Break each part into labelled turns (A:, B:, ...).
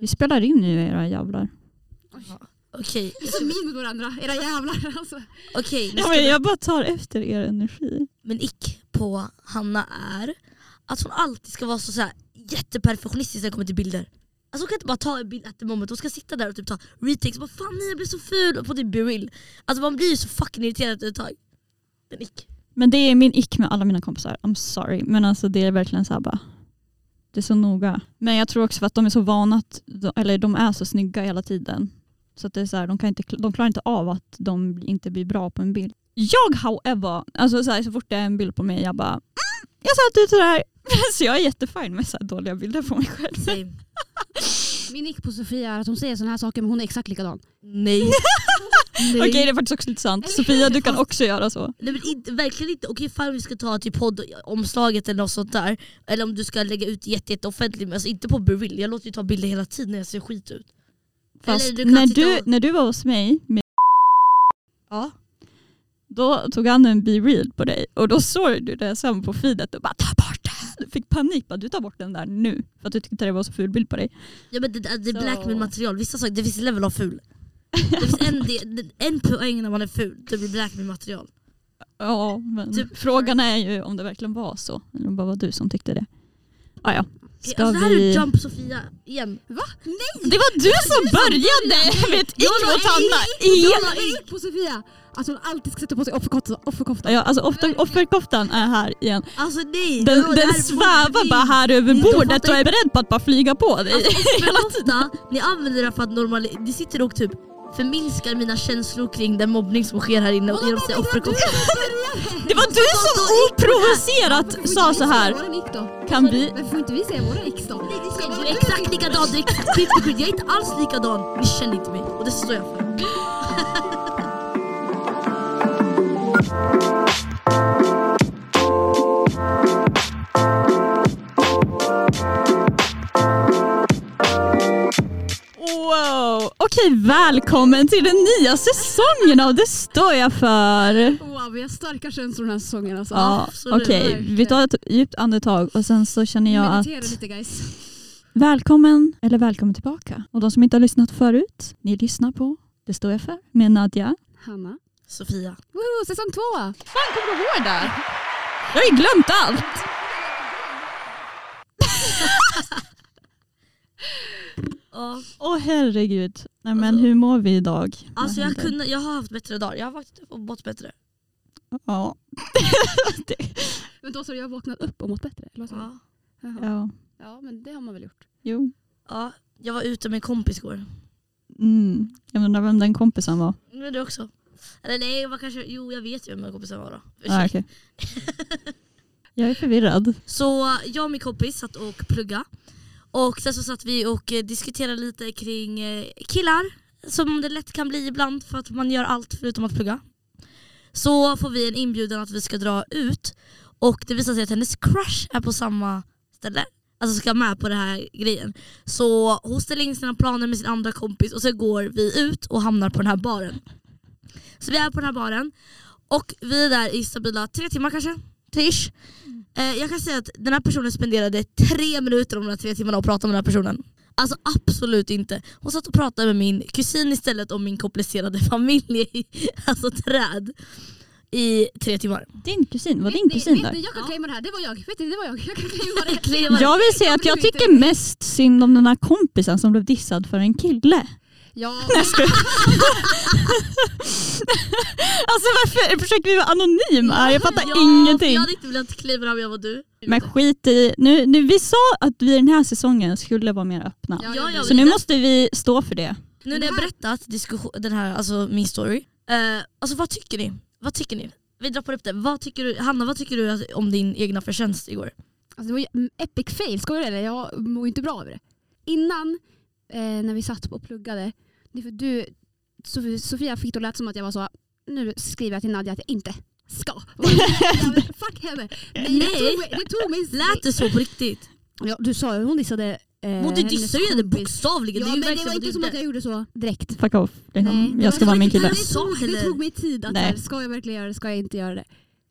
A: Vi spelar in nu era jävlar.
B: Okej,
C: Vi är så mean mot varandra, era jävlar alltså.
B: okej. nu
A: Ja,
B: ska
A: men
B: vi-
A: jag bara tar efter er energi.
B: Min ick på Hanna är att hon alltid ska vara så, så här, jätteperfektionistisk när det kommer till bilder. Alltså hon kan inte bara ta en bild at the moment, hon ska sitta där och typ ta retakes och bara fan nej jag blev så ful och på typ be real. Alltså man blir ju så fucking irriterad efter ett tag. Den ick.
A: Men det är min ick med alla mina kompisar. I'm sorry. Men alltså det är verkligen så här bara. Det är så noga. Men jag tror också för att de är så vana att, de- eller de är så snygga hela tiden. Så att det är så här, de, kan inte, de klarar inte av att de inte blir bra på en bild. Jag however, alltså så, här, så fort det är en bild på mig jag bara mm, jag ser alltid ut sådär. Så jag är jättefin med så här dåliga bilder på mig själv.
B: Same.
C: Min nick på Sofia är att hon säger sådana här saker men hon är exakt likadan.
B: Nej.
A: Okej det är faktiskt också lite sant. Sofia du kan också göra så.
B: Nej men inte, verkligen inte. Okej ifall vi ska ta till poddomslaget eller något sånt där. Eller om du ska lägga ut jätte, jätte offentligt, men alltså inte på Beryl. Jag låter ju ta bilder hela tiden när jag ser skit ut.
A: Fast
B: Eller du kan
A: när,
B: sitta
A: du,
B: och-
A: när du var hos mig med
B: Ja.
A: Då tog han en Be Real på dig och då såg du det sen på feedet och bara ta bort den. Du fick panik bara du tar bort den där nu för att du tyckte det var så ful bild på dig.
B: Ja men det, det är
A: Så.
B: blackmail material, vissa saker, det finns level av ful. Det finns en, del- en poäng när man är ful, det blir blackmail material.
A: Ja men
B: Typ-
A: frågan är ju om det verkligen var så eller om det bara var du som tyckte det. Ah, ja. Ska
B: alltså, det här
A: vi...
B: är Jump Sofia igen.
A: Det var du
B: Alltså,
A: som började med ett ick mot Hanna igen.
C: Jag har en nick på Sofia att hon alltid ska sätta på sig offerkoftan. offerkoftan.
A: Ja, alltså ofta, offerkoftan är här igen.
B: Alltså nej!
A: Den,
B: det
A: den
B: här är
A: svävar
B: mobbning.
A: bara här över
B: De fattar
A: bordet och är beredd på att bara flyga på dig.
B: Ofta, ni använder det här för att normalisera, ni sitter och typ förminskar mina känslor kring den mobbning som sker här inne genom att säga offerkofta.
A: Det var du som oprovocerat sa så här.
C: Våra nick då?
A: Kan vi...
C: Varför får inte vi säga våra ex då?
B: Du är exakt likadan, du är exakt jag är inte alls likadan. Ni känner inte mig och det står jag för.
A: Wow! Okej, välkommen till den nya säsongen av Det står jag för.
C: Wow, vi har starka känslor den här säsongen alltså.
A: Ja,
B: absolut,
A: Okej, vi tar ett djupt andetag och sen så känner jag att
C: Meditera lite guys.
A: välkommen eller välkommen tillbaka. Och de som inte har lyssnat förut, ni lyssnar på Det står jag för med Nadja.
C: Hanna.
B: Sofia.
C: Woho, säsong två!
A: Fan, kommer du ihåg det? Jag har ju glömt allt.
B: Ja.
A: Åh herregud. Nej men hur mår vi idag? Vad
B: Alltså jag,
A: händer?
B: kunde, jag har haft bättre dagar, jag har faktiskt mått bättre.
A: Ja.
C: Men då så har jag vaknat upp och mått bättre. Eller vad sa du?
B: Ja.
A: ja.
C: Jaha. ja men det har man väl gjort.
A: Jo.
B: Ja, jag var ute med en kompis igår.
A: Mm. Jag undrar vem den kompisen var.
B: Men du också. Eller nej, jag var kanske, jo jag vet ju vem den kompisen var då.
A: Ah, okej. Jag är förvirrad.
B: Så jag och min kompis satt och plugga Och sen så satt vi och eh, diskuterade lite kring eh, killar, som det lätt kan bli ibland för att man gör allt förutom att plugga. Så får vi en inbjudan att vi ska dra ut och det visar sig att hennes crush är på samma ställe. Alltså ska med på den här grejen. Så hon ställer in sina planer med sin andra kompis och så går vi ut och hamnar på den här baren. Så vi är på den här baren och vi är där i stabila tre timmar kanske, trish. Eh, jag kan säga att den här personen spenderade tre minuter om de här tre timmarna och pratade med den här personen. Alltså absolut inte. Hon satt och pratade med min kusin istället om min komplicerade familj, i- alltså träd, i tre timmar.
A: Din kusin, var
C: Vet
A: din
C: ni-
A: kusin
C: vet
A: där?
C: ni, Jag kan claima det här, det var jag. Vet ni, det var jag. Jag kan claima det.
A: Jag vill säga att jag tycker mest synd om den här kompisen som blev dissad för en kille.
C: Ja,
A: Alltså varför försöker vi vara anonyma? Jag fattar
B: Ja, för
A: ingenting.
B: Jag hade inte velat kliva om jag var du.
A: Men skit i, nu, nu, vi sa att vi den här säsongen skulle vara mer öppna.
C: Ja,
B: Ja, ja,
A: Så nu måste vi stå för det.
B: Nu när jag berättat diskussion, den här, alltså min story, eh, alltså vad tycker ni? Vad tycker ni? Vi droppar upp det. Vad tycker du, Hanna, vad tycker du att- om din egna förtjänst igår?
C: Alltså det var ju en epic fail, skojar du eller? Jag mår ju inte bra över det. Innan, eh, när vi satt och pluggade, det är för du, Sof- Sofia fick det att lät som att jag var så, nu skriver jag till Nadja att jag inte ska. vara med. Jag vet, Fuck henne. Nej, det tog mig... Det tog mig
B: Lät det så på riktigt?
C: ja, du sa ju, hon dissade eh,
B: Hon du dissar ju henne
C: kompis.
B: bokstavligen.
C: Ja,
B: det är
C: men
B: ju
C: det
B: verkligen
C: var
B: vad du
C: inte som
B: gjorde.
C: att jag gjorde så Mm. direkt.
A: Fuck off. Liksom.
C: Nej.
A: Jag ska vara min kille.
C: Det tog, det tog mig tid att
A: Nej.
C: här, ska jag verkligen göra det, ska jag inte göra det?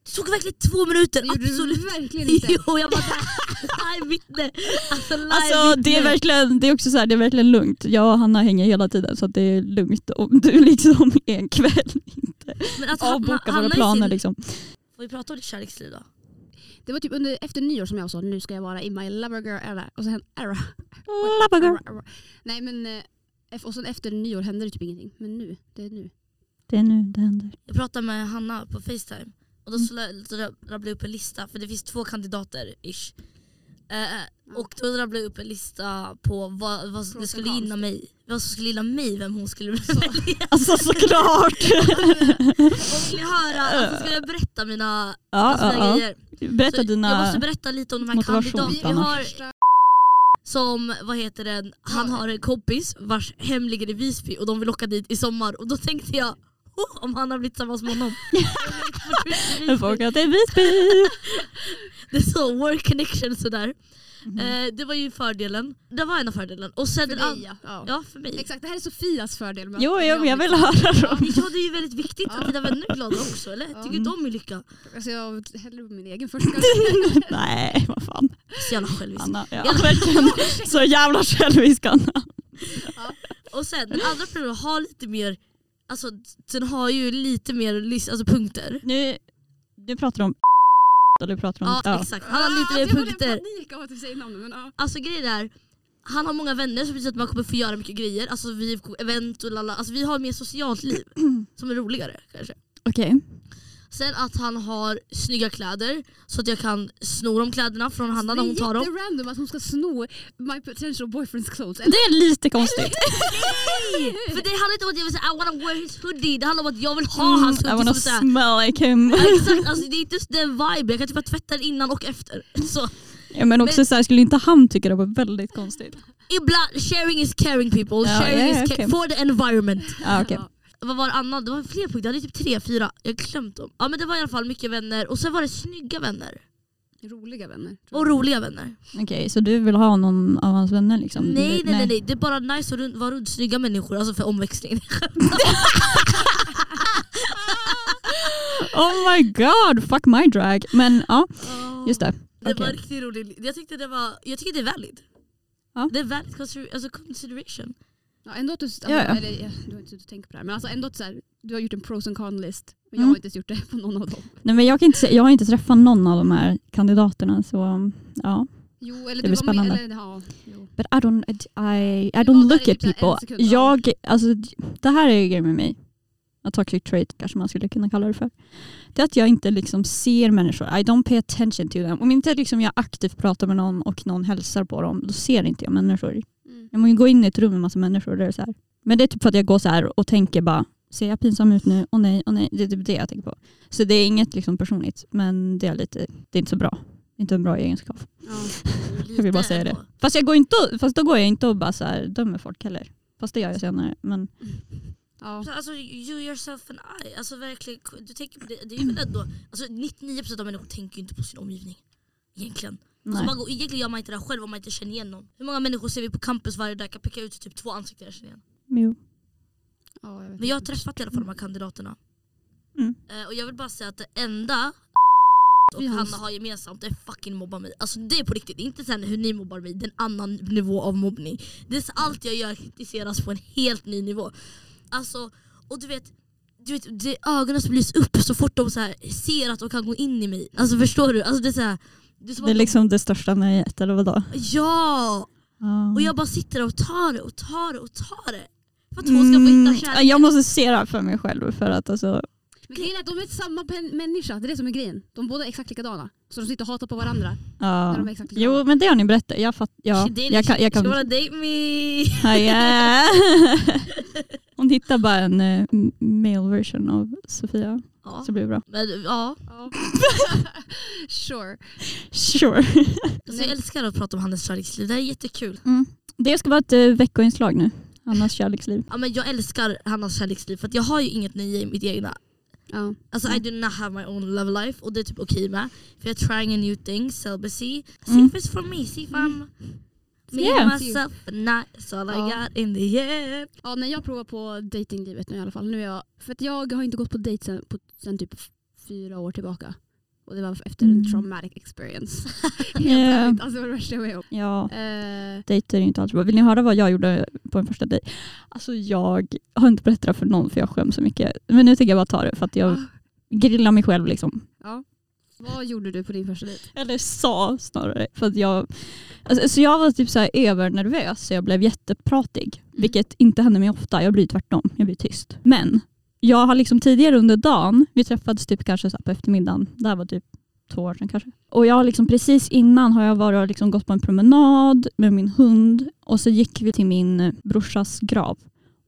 B: Det tog verkligen två minuter,
C: Det gjorde
B: absolut.
C: du verkligen inte.
B: Jo, jag var där. Live vittne. Alltså, live
A: Alltså det är
B: vittne.
A: verkligen, det är också så här, det är verkligen lugnt. Jag och Hanna hänger hela tiden så att det är lugnt om du liksom är en kväll
B: Men alltså, Hanna,
A: avbokar våra
B: Hanna i
A: planer
B: sin-
A: liksom.
B: Får vi prata om ditt kärleksliv då?
C: Det var typ under, efter nyår som jag sa nu ska jag vara i my lover girl era. Och sen era.
A: Labagar.
C: era, era. Nej men eh, eff- och sen efter nyår hände det typ ingenting. Men nu, det är nu.
A: Det är nu det händer.
B: Jag pratade med Hanna på Facetime och då
C: Mm.
B: så la- så ra- rabblade jag upp en lista för det finns två kandidater ish. Eh, och då rabblade jag upp en lista på vad, vad som
C: Pros och
B: skulle
C: cons.
B: gynna mig. Vad som skulle gynna mig, vem hon skulle
C: Så.
B: välja.
A: Alltså såklart!
B: Och vill ni höra, alltså, ska jag berätta mina,
A: ja,
B: alltså, mina
A: ja, ja.
B: grejer?
A: Berätta
B: Så Jag måste
A: dina...
B: berätta lite om de här
A: motivation.
C: Vi, vi
B: kandidaterna. Vi
A: Anna.
B: har
C: har...
B: som, vad heter den, han har en kompis vars hem ligger i Visby och de vill åka dit i sommar och då tänkte jag oh, om han har blivit tillsammans med honom.
A: Jag får åka till Visby!
B: Det står work connection sådär. Eh, det var ju fördelen. Det var en av fördelen. Och sen
C: För
B: den an-
C: dig, ja. Ja.
B: Ja, för mig.
C: Exakt, det här är Sofias fördel. med att-
A: Jo, jo men jag vill
C: Ja.
A: höra dem.
B: Ja, det är ju väldigt viktigt att dina vänner är glada också, eller?
C: Ja.
B: Tycker du inte om min lycka?
C: Alltså jag häller upp min egen Ah, först.
A: Nej, vad fan.
B: Så jävla självisk.
A: Anna, ja. verkligen. Så jävla självisk Anna.
B: Och sen den andra fördelen har lite mer, alltså den har ju lite mer lys- alltså, punkter.
A: Nu, nu pratar du om eller pratar du om...
B: Ja, exakt. Han har lite
C: Ah,
B: mer
C: alltså,
B: punkter.
C: Jag får panik av att du säger namnet. Men, ah. ja.
B: Alltså grejen är, han har många vänner som betyder att man kommer få göra mycket grejer. Alltså vi event och lalla. Alltså vi har mer socialt liv som är roligare kanske.
A: Okej.
B: Sen att han har snygga kläder så att jag kan sno de kläderna från Hanna när hon tar
C: Det är
B: dem.
C: jätterandom att hon ska sno my potential boyfriend's clothes.
A: Det är lite konstigt.
B: För det handlar inte om att jag vill säga I wanna wear his hoodie, det handlar om att jag vill ha
A: Mm,
B: hans
A: I
B: hoodie.
A: wanna
B: som så här-
A: smell like him.
B: Ja, Exakt, alltså, det är inte just den viben. Jag kan typ bara tvätta den innan och efter. Så
A: Ja, men också så här, skulle inte han tycka det var väldigt konstigt?
B: ibland, sharing is caring people.
A: Ja,
B: sharing
A: ja, ja,
B: is
A: okej.
B: ca- for the environment.
A: Ja, Ah, okej.
C: Ja.
B: Vad var det annan? Det var fler punkter, jag hade typ tre, fyra. Jag har glömt dem. Ja men det var i alla fall mycket vänner och sen var det snygga vänner.
C: Roliga vänner. tror
B: Och
C: jag.
B: roliga vänner.
A: Okej, så du vill ha någon av hans vänner liksom?
B: Nej
A: Du-
B: nej nej, nej. det är bara nice att rund- vara runt snygga människor, alltså för omväxling.
A: Oh my god, fuck my drag. Men ja, just det.
B: Det var
A: Okej.
B: riktigt roligt. Jag tyckte det var, jag tycker det är valid.
A: Ja.
B: Det är valid consider- alltså consideration.
C: Ja, ändå att du, alltså,
A: Ja, ja.
C: Eller, ja, du har inte suttit och tänkt på det här, men alltså ändå att så här, du har gjort en pros and cons list. Men jag
A: Mm.
C: har inte ens gjort det på någon av dem.
A: Nej, men jag, kan inte, se- jag har inte träffat någon av de här kandidaterna så ja.
C: Jo, eller
A: Det
C: du
A: blir
C: var med,
A: spännande.
C: eller, ja, jo.
A: But I don't, I, I
C: Du var
A: don't
C: där
A: look
C: i
A: at
C: typ så här en
A: people.
C: sekund, ja.
A: Jag, alltså, det här är ju grejen med mig. A toxic trait kanske man skulle kunna kalla det för. Det är att jag inte liksom ser människor. I don't pay attention to them. Om inte liksom jag aktivt pratar med någon och någon hälsar på dem, då ser inte jag människor.
C: Mm.
A: Jag måste gå in i ett rum med massa människor och det är så här. Men det är typ för att jag går så här och tänker bara, ser jag pinsam ut nu? Åh nej, åh nej. Det är typ det jag tänker på. Så det är inget liksom personligt, men det är lite, det är inte så bra. Inte en bra egenskap.
C: Ja.
A: Jag vill bara säga det. Fast, jag går inte, och- fast då går jag inte och bara så här, dömer folk heller. Fast det gör jag senare. Men
C: Ja.
B: Så, Alltså you yourself and I, alltså verkligen, du tänker på det, det är ju väl ändå, alltså 99% av människor tänker ju inte på sin omgivning. Egentligen. Alltså
A: nej.
B: man, går- egentligen gör man inte det här själv om man inte känner igen någon. Hur många människor ser vi på campus varje dag? Jag kan peka ut typ två ansikten jag känner igen.
A: Jo.
C: Ja, jag vet
B: Men jag har
C: inte.
B: träffat i alla fall de här kandidaterna.
A: Mm.
B: Eh, och jag vill bara säga att det enda och
C: Vi har-
B: Hanna har gemensamt det är fucking mobba mig. Alltså det är på riktigt, det är inte sen hur ni mobbar mig, det är en annan nivå av mobbning. Det är så allt jag gör kritiseras på en helt ny nivå. Alltså, och du vet, du vet det, ögonen som lyser upp så fort de så här ser att de kan gå in i mig. Alltså förstår du? Alltså, det är så här, det är som
A: Det är
B: att de-
A: liksom det största nöjet, eller vadå?
B: Ja!
A: Ja.
B: Och jag bara sitter där och tar det och tar det och tar det. För att hon ska få hitta kärleken.
A: Mm. Jag måste se det här för mig själv. För att alltså,
C: Men grejen är att de är samma pen- människa, det är det som är grejen. De båda är exakt likadana. Så de sitter och hatar på varandra.
A: ja.
C: de är exakt
A: Jo
C: likadana.
A: men det har ni berättat. Jag, fatt, ja,
B: Det är liksom-
A: jag kan... Jag
B: Ska
A: kan
B: vara date me?
A: Ja, ja. Hon hittar bara en eh, m- male version av Sofia.
B: Ja.
A: Så blir det bra.
B: Men, ja.
C: Ja. sure.
A: Sure.
B: Alltså, jag älskar att prata om Hannes kärleksliv, det här är jättekul.
A: Det ska vara ett eh, veckoinslag nu. Annas kärleksliv.
B: Ja, men jag älskar Hannas kärleksliv för att jag har ju inget nöje i mitt egna.
C: Ja.
B: Alltså
A: Mm.
B: I do not have my own love life och det är typ okej med. För jag trying a new thing, celibacy. See
A: Mm.
B: if it's for me, see if I'm me
A: Yeah.
B: myself not that's all I
C: Ja.
B: got in the end.
C: Ja, nej, jag provar på datinglivet nu i alla fall. Nu är jag, för att jag har inte gått på dejt sen, på, sen typ f- fyra år tillbaka. Och det var efter en
A: Mm.
C: traumatic experience. Helt
A: Ja.
C: ärligt, alltså det var det värsta jag var med om.
A: Eh, Ja,
C: Eh,
A: dejter är ju inte alls bra. Vill ni höra vad jag gjorde på en första dejt? Alltså jag har inte berättat det för någon för jag skäms så mycket. Men nu tänker jag bara ta det för att jag
C: Ah.
A: grillar mig själv liksom.
C: vad gjorde du på din första dejt?
A: Eller sa snarare. För att jag, alltså, så jag var typ så här övernervös så jag blev jättepratig. Vilket inte händer mig ofta. Jag blir tvärtom. Jag blir tyst. Men jag har liksom tidigare under dagen, vi träffades typ kanske så här på eftermiddagen. Det här var typ två år sedan kanske. Och jag har liksom precis innan har jag varit och liksom gått på en promenad med min hund. Och så gick vi till min eh, brorsas grav.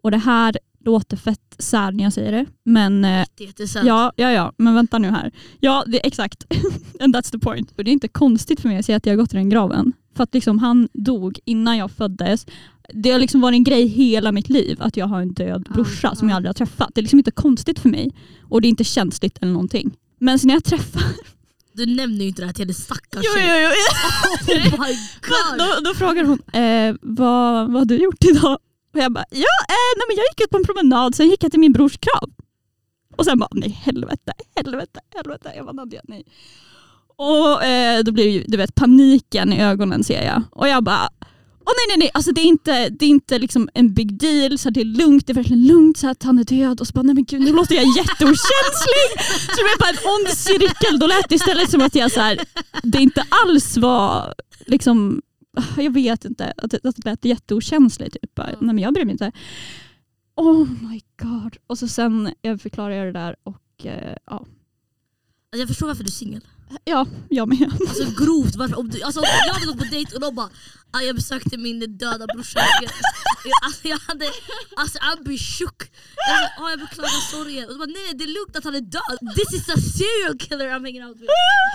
A: Och det här låter fett sad när jag säger det. Men eh,
B: Det är jättesönt.
A: Ja, ja, ja, men vänta nu här. Ja, det, exakt. And that's the point. Och det är inte konstigt för mig att säga att jag har gått i den graven. För att liksom han dog innan jag föddes. Det har liksom varit en grej hela mitt liv att jag har en död
C: Ja,
A: brorsa som
C: ja.
A: jag aldrig har träffat. Det är liksom inte konstigt för mig. Och det är inte känsligt eller någonting. Men sen när jag träffar...
B: Du nämner ju inte det här till henne stackars
A: Jo, jo,
B: tjej.
A: jo.
B: Oh my
A: Men
B: god.
A: Då, då frågar hon, eh, vad, vad har du gjort idag? Och jag bara, ja, eh, nej, men jag gick ut på en promenad, sen gick jag till min brors grav. Och sen bara, nej helvete, helvete, helvete. Jag bara, Nadja, nej. Och eh, då blir det ju, du vet, paniken i ögonen ser jag. Och jag bara, åh nej nej nej, alltså det är inte, det är inte liksom en big deal, så här, det är lugnt, det är verkligen lugnt så här, att han är död. Och så bara, nej men gud nu låter jag jätteokänslig. så det blev bara en ond cirkel, då lät det istället som att jag så här, det inte alls var liksom, jag vet inte, att det, att det lät jätteokänsligt. Typ. Bara,
C: Ja.
A: Nej men jag bryr mig inte. Oh my god. Och så sen jag förklarar jag det där och eh, ja,
B: Alltså, jag förstår varför du är singel.
A: ja jag med.
B: Alltså grovt varför. Om du, alltså, om jag hade gått på dejt och de bara ah, jag besökte min döda brorsa. Jag- Alltså jag hade, alltså I'd be shook. Jag, bara, ah, jag beklagar sorgen. Och de bara nej nej det är lugnt att han är död. This is a serial killer I'm hanging out with.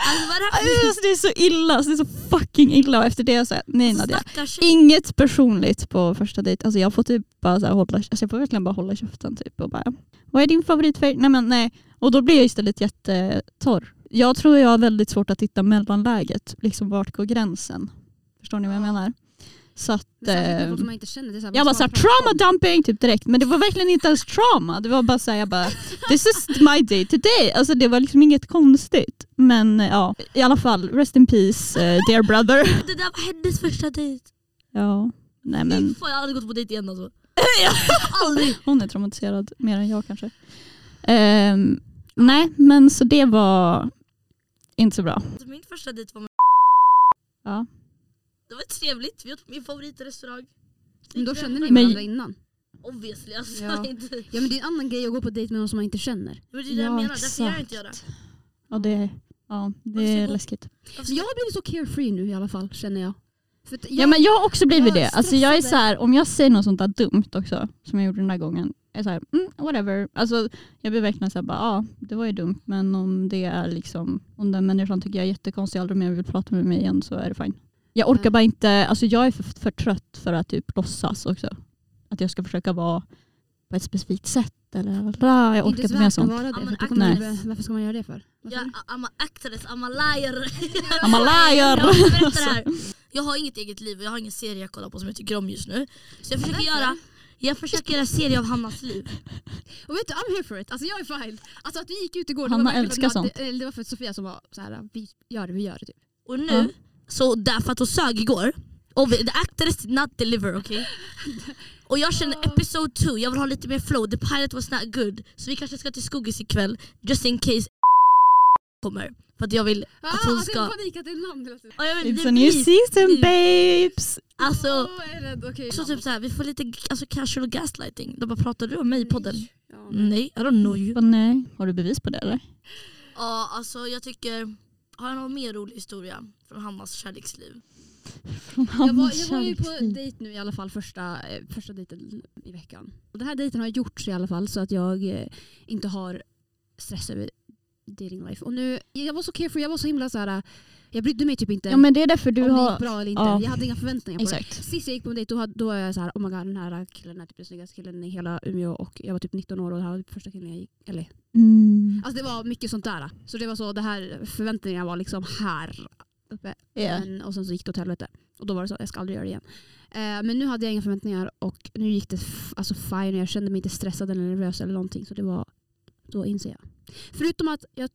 B: Alltså vad är det här för
A: Alltså, det är så illa, alltså, det är så fucking illa. Och efter det så här, nej Nadja.
B: stackars tjej?
A: Inget personligt på första dejt. Alltså jag får typ bara så här hålla, alltså jag får verkligen bara hålla käften typ och bara Vad är din favoritfärg? Nej men nej. Och då blir jag istället jättetorr. Jag tror jag har väldigt svårt att hitta mellanläget. Liksom vart går gränsen? Förstår ni vad jag menar? Så att...
C: Men särskilt med
A: eh,
C: folk som man inte känner. Det är så här,
A: jag bara
C: vad ska
A: såhär
C: man prata
A: trauma
C: om?
A: dumping typ direkt men det var verkligen inte ens trauma. Det var bara såhär jag bara this is my day today. Alltså det var liksom inget konstigt. Men eh, ja i alla fall rest in peace eh, dear brother.
B: Det där var hennes första dejt.
A: Ja nej men
B: Fy fan, jag har aldrig gått på dejt igen alltså. aldrig.
A: Hon är traumatiserad mer än jag kanske. Ehm, nej, men så det var inte så bra.
B: Alltså, Min första dejt var med
A: Ja.
B: Det var trevligt, vi åt på min favoritrestaurang.
C: Men då kände ni
A: Men-
C: varandra innan.
B: Obviously. Alltså,
C: Ja.
B: inte.
C: Ja men det är en annan grej att gå på dejt med någon som man inte känner.
B: Men det är det jag menar, därför gör jag inte jag det.
A: Ja, det, ja, det är läskigt.
C: Så jag har blivit så carefree nu i alla fall känner jag. För att jag
A: Ja, men jag har också blivit
C: jag
A: det. Alltså, jag är
C: stressade.
A: så här, om jag säger något sånt där dumt också, som jag gjorde den där gången, jag är så här, mm, whatever. Alltså, jag blir verkligen så här, bara, ja, det var ju dumt, men om det är liksom, om den människan tycker jag är jättekonstig och aldrig mer vill prata med mig igen så är det fine. Jag orkar
C: Mm.
A: bara inte, alltså jag är för, för trött för att typ låtsas också. Att jag ska försöka vara på ett specifikt sätt eller bla, jag
C: det är
A: orkar
C: inte
A: inte
C: så
A: med
C: värt att
A: sånt.
C: vara det.
B: Ja, men
C: för att då kommer
A: nej.
C: du- Varför ska man göra det för? Varför?
B: Ja, I'm a actress, I'm a liar.
A: I'm a liar.
B: Jag måste berätta det här. Jag har inget eget liv och jag har ingen serie jag kollar på som jag tycker om just nu. Så jag försöker göra jag försöker göra en serie av Hannas liv.
C: Och vet du, I'm here for it. Alltså jag är fine. Alltså att vi gick ut igår,
A: Hanna
C: det, var verkligen för
A: älskar
C: att- eller det var för att Sofia som var så här, vi gör det, vi gör det typ.
B: Och nu,
A: Ja.
B: så därför att hon sög igår. Och the actress did not deliver, okay? Och jag känner episode 2, jag vill ha lite mer flow. The pilot was not good. Så vi kanske ska till Skogis ikväll, just in case kommer. För att jag vill att hon
C: Alltså, jag
B: ska...
C: får panik att det är namn hela tiden.
B: Och jag vill,
A: It's
B: det
A: a new
B: blir-
A: season babes!
B: Alltså,
C: Åh, jag är rädd. Okej.
B: så typ så här, vi får lite alltså, casual gaslighting. De bara, pratar du om mig i podden? Mm.
C: Nej. Ja, men-
B: Nej, I don't know you.
A: Bara, nej, har du bevis på det eller?
B: Ja, alltså jag tycker... Har jag någon mer rolig historia från Hannas kärleksliv?
A: Från
C: Jag var,
A: hans
C: jag var ju på
A: kärleksliv.
C: dejt nu i alla fall, första, eh, första dejten i veckan. Och den här dejten har gjorts i alla fall så att jag eh, inte har stress över dating life. Och nu, jag var så carefree, jag var så himla så här. eh, jag brydde mig typ inte
A: Ja men det är därför du
C: om det gick
A: har...
C: bra eller inte.
A: ja.
C: Jag hade inga förväntningar på
A: Exakt.
C: det. Sist jag gick på en dejt då, hade- då var jag så här, oh my god den här killen är typ den snyggaste killen i hela Umeå och jag var typ 19 år och det här var typ första killen jag gick, eller
A: Mm.
C: Alltså det var mycket sånt där. Så det var så, det här förväntningarna var liksom här uppe.
A: Ja.
C: Men, och sen så gick det åt helvete. Och då var det så, jag ska aldrig göra det igen. Eh, men nu hade jag inga förväntningar och nu gick det f- alltså fine. Jag kände mig inte stressad eller nervös eller någonting. Så det var, då inser jag. Förutom att jag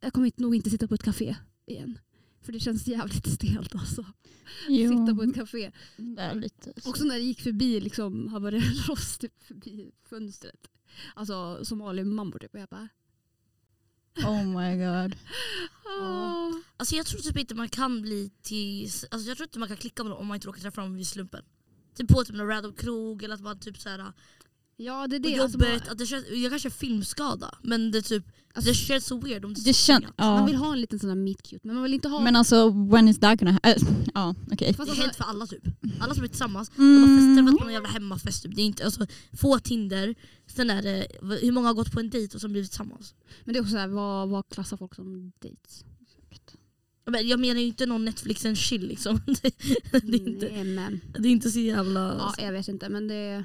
C: jag kommer inte- nog inte sitta på ett café igen. För det känns jävligt stelt alltså.
A: Jo,
C: Sitta på ett café.
A: det är lite så.
C: Också när det gick förbi, liksom, han började loss typ, förbi fönstret. Alltså somaliemammor typ. Och jag bara...
A: Oh my god.
C: "Åh."
B: Alltså jag tror typ inte man kan bli till, alltså jag tror inte man kan klicka med någon om man inte råkar träffa dem vid slumpen. Typ på typ någon random krog eller att man typ såhär,
C: Ja det är
B: på
C: det. Alltså,
B: jobbet,
C: man,
B: att det känns, jag kanske är filmskada men det typ,
C: Alltså-
B: det känns så weird om det,
A: Det känns...
C: man
A: Ja.
C: vill ha en liten sån där meet cute men man vill inte ha...
A: Men alltså when is that gonna happen? ja, okej.
C: fast
B: Det är
C: alltså,
B: helt för alla typ. Alla som är tillsammans, de har fester
A: Mm.
B: för att någon jävla hemmafest typ. Det är inte, alltså, få Tinder, sen är det hur många har gått på en dejt och sen blivit tillsammans.
C: men det är också såhär, vad, vad klassar folk som dejts?
B: Men jag menar ju inte någon Netflix and chill liksom. Det, det, är, inte, alltså.
C: Nej, men,
B: det är inte så jävla...
C: Mm, ja, jag vet inte men det...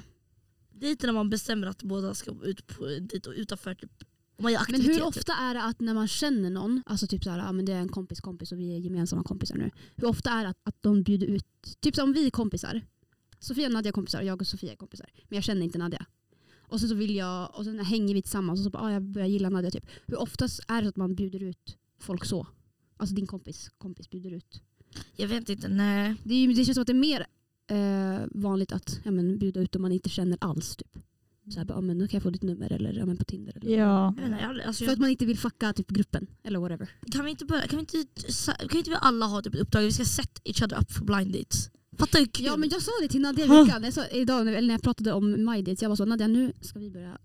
B: Det är inte när man bestämmer att båda ska ut på, dit och utanför. Typ. Om man gör
C: Men
B: aktiviteter.
C: hur ofta är det att när man känner någon, alltså typ såhär, ja men det är en kompis kompis och vi är gemensamma kompisar nu. Hur ofta är det att, att de bjuder ut, typ som vi är kompisar. Sofia och Nadja är kompisar och jag och Sofia är kompisar. Men jag känner inte Nadja. Och sen så vill jag, och sen hänger vi tillsammans och så bara, ah, jag börjar gilla Nadja typ. Hur ofta är det att man bjuder ut folk så? Alltså din kompis kompis bjuder ut.
B: Jag vet inte, nej.
C: Det, är, ju- det känns som att det är mer eh, vanligt att ja, men, bjuda ut om man inte känner alls. Typ. Så här, bara, ah, men, nu kan jag få ditt nummer eller ja, men, på Tinder. Eller.
A: Ja.
B: Jag menar, jag, alltså,
C: För att
B: jag,
C: man inte vill fucka typ, gruppen eller whatever.
B: kan vi inte börja, kan vi inte, sa- kan inte vi alla ha typ ett uppdrag, vi ska set each other up for blind dates. Fatta hur kul!
C: Ja men jag sa det till Nadja i
A: Huh.
C: veckan, jag sa, idag, när- eller när jag pratade om my dates, jag var så Nadja nu ska vi börja,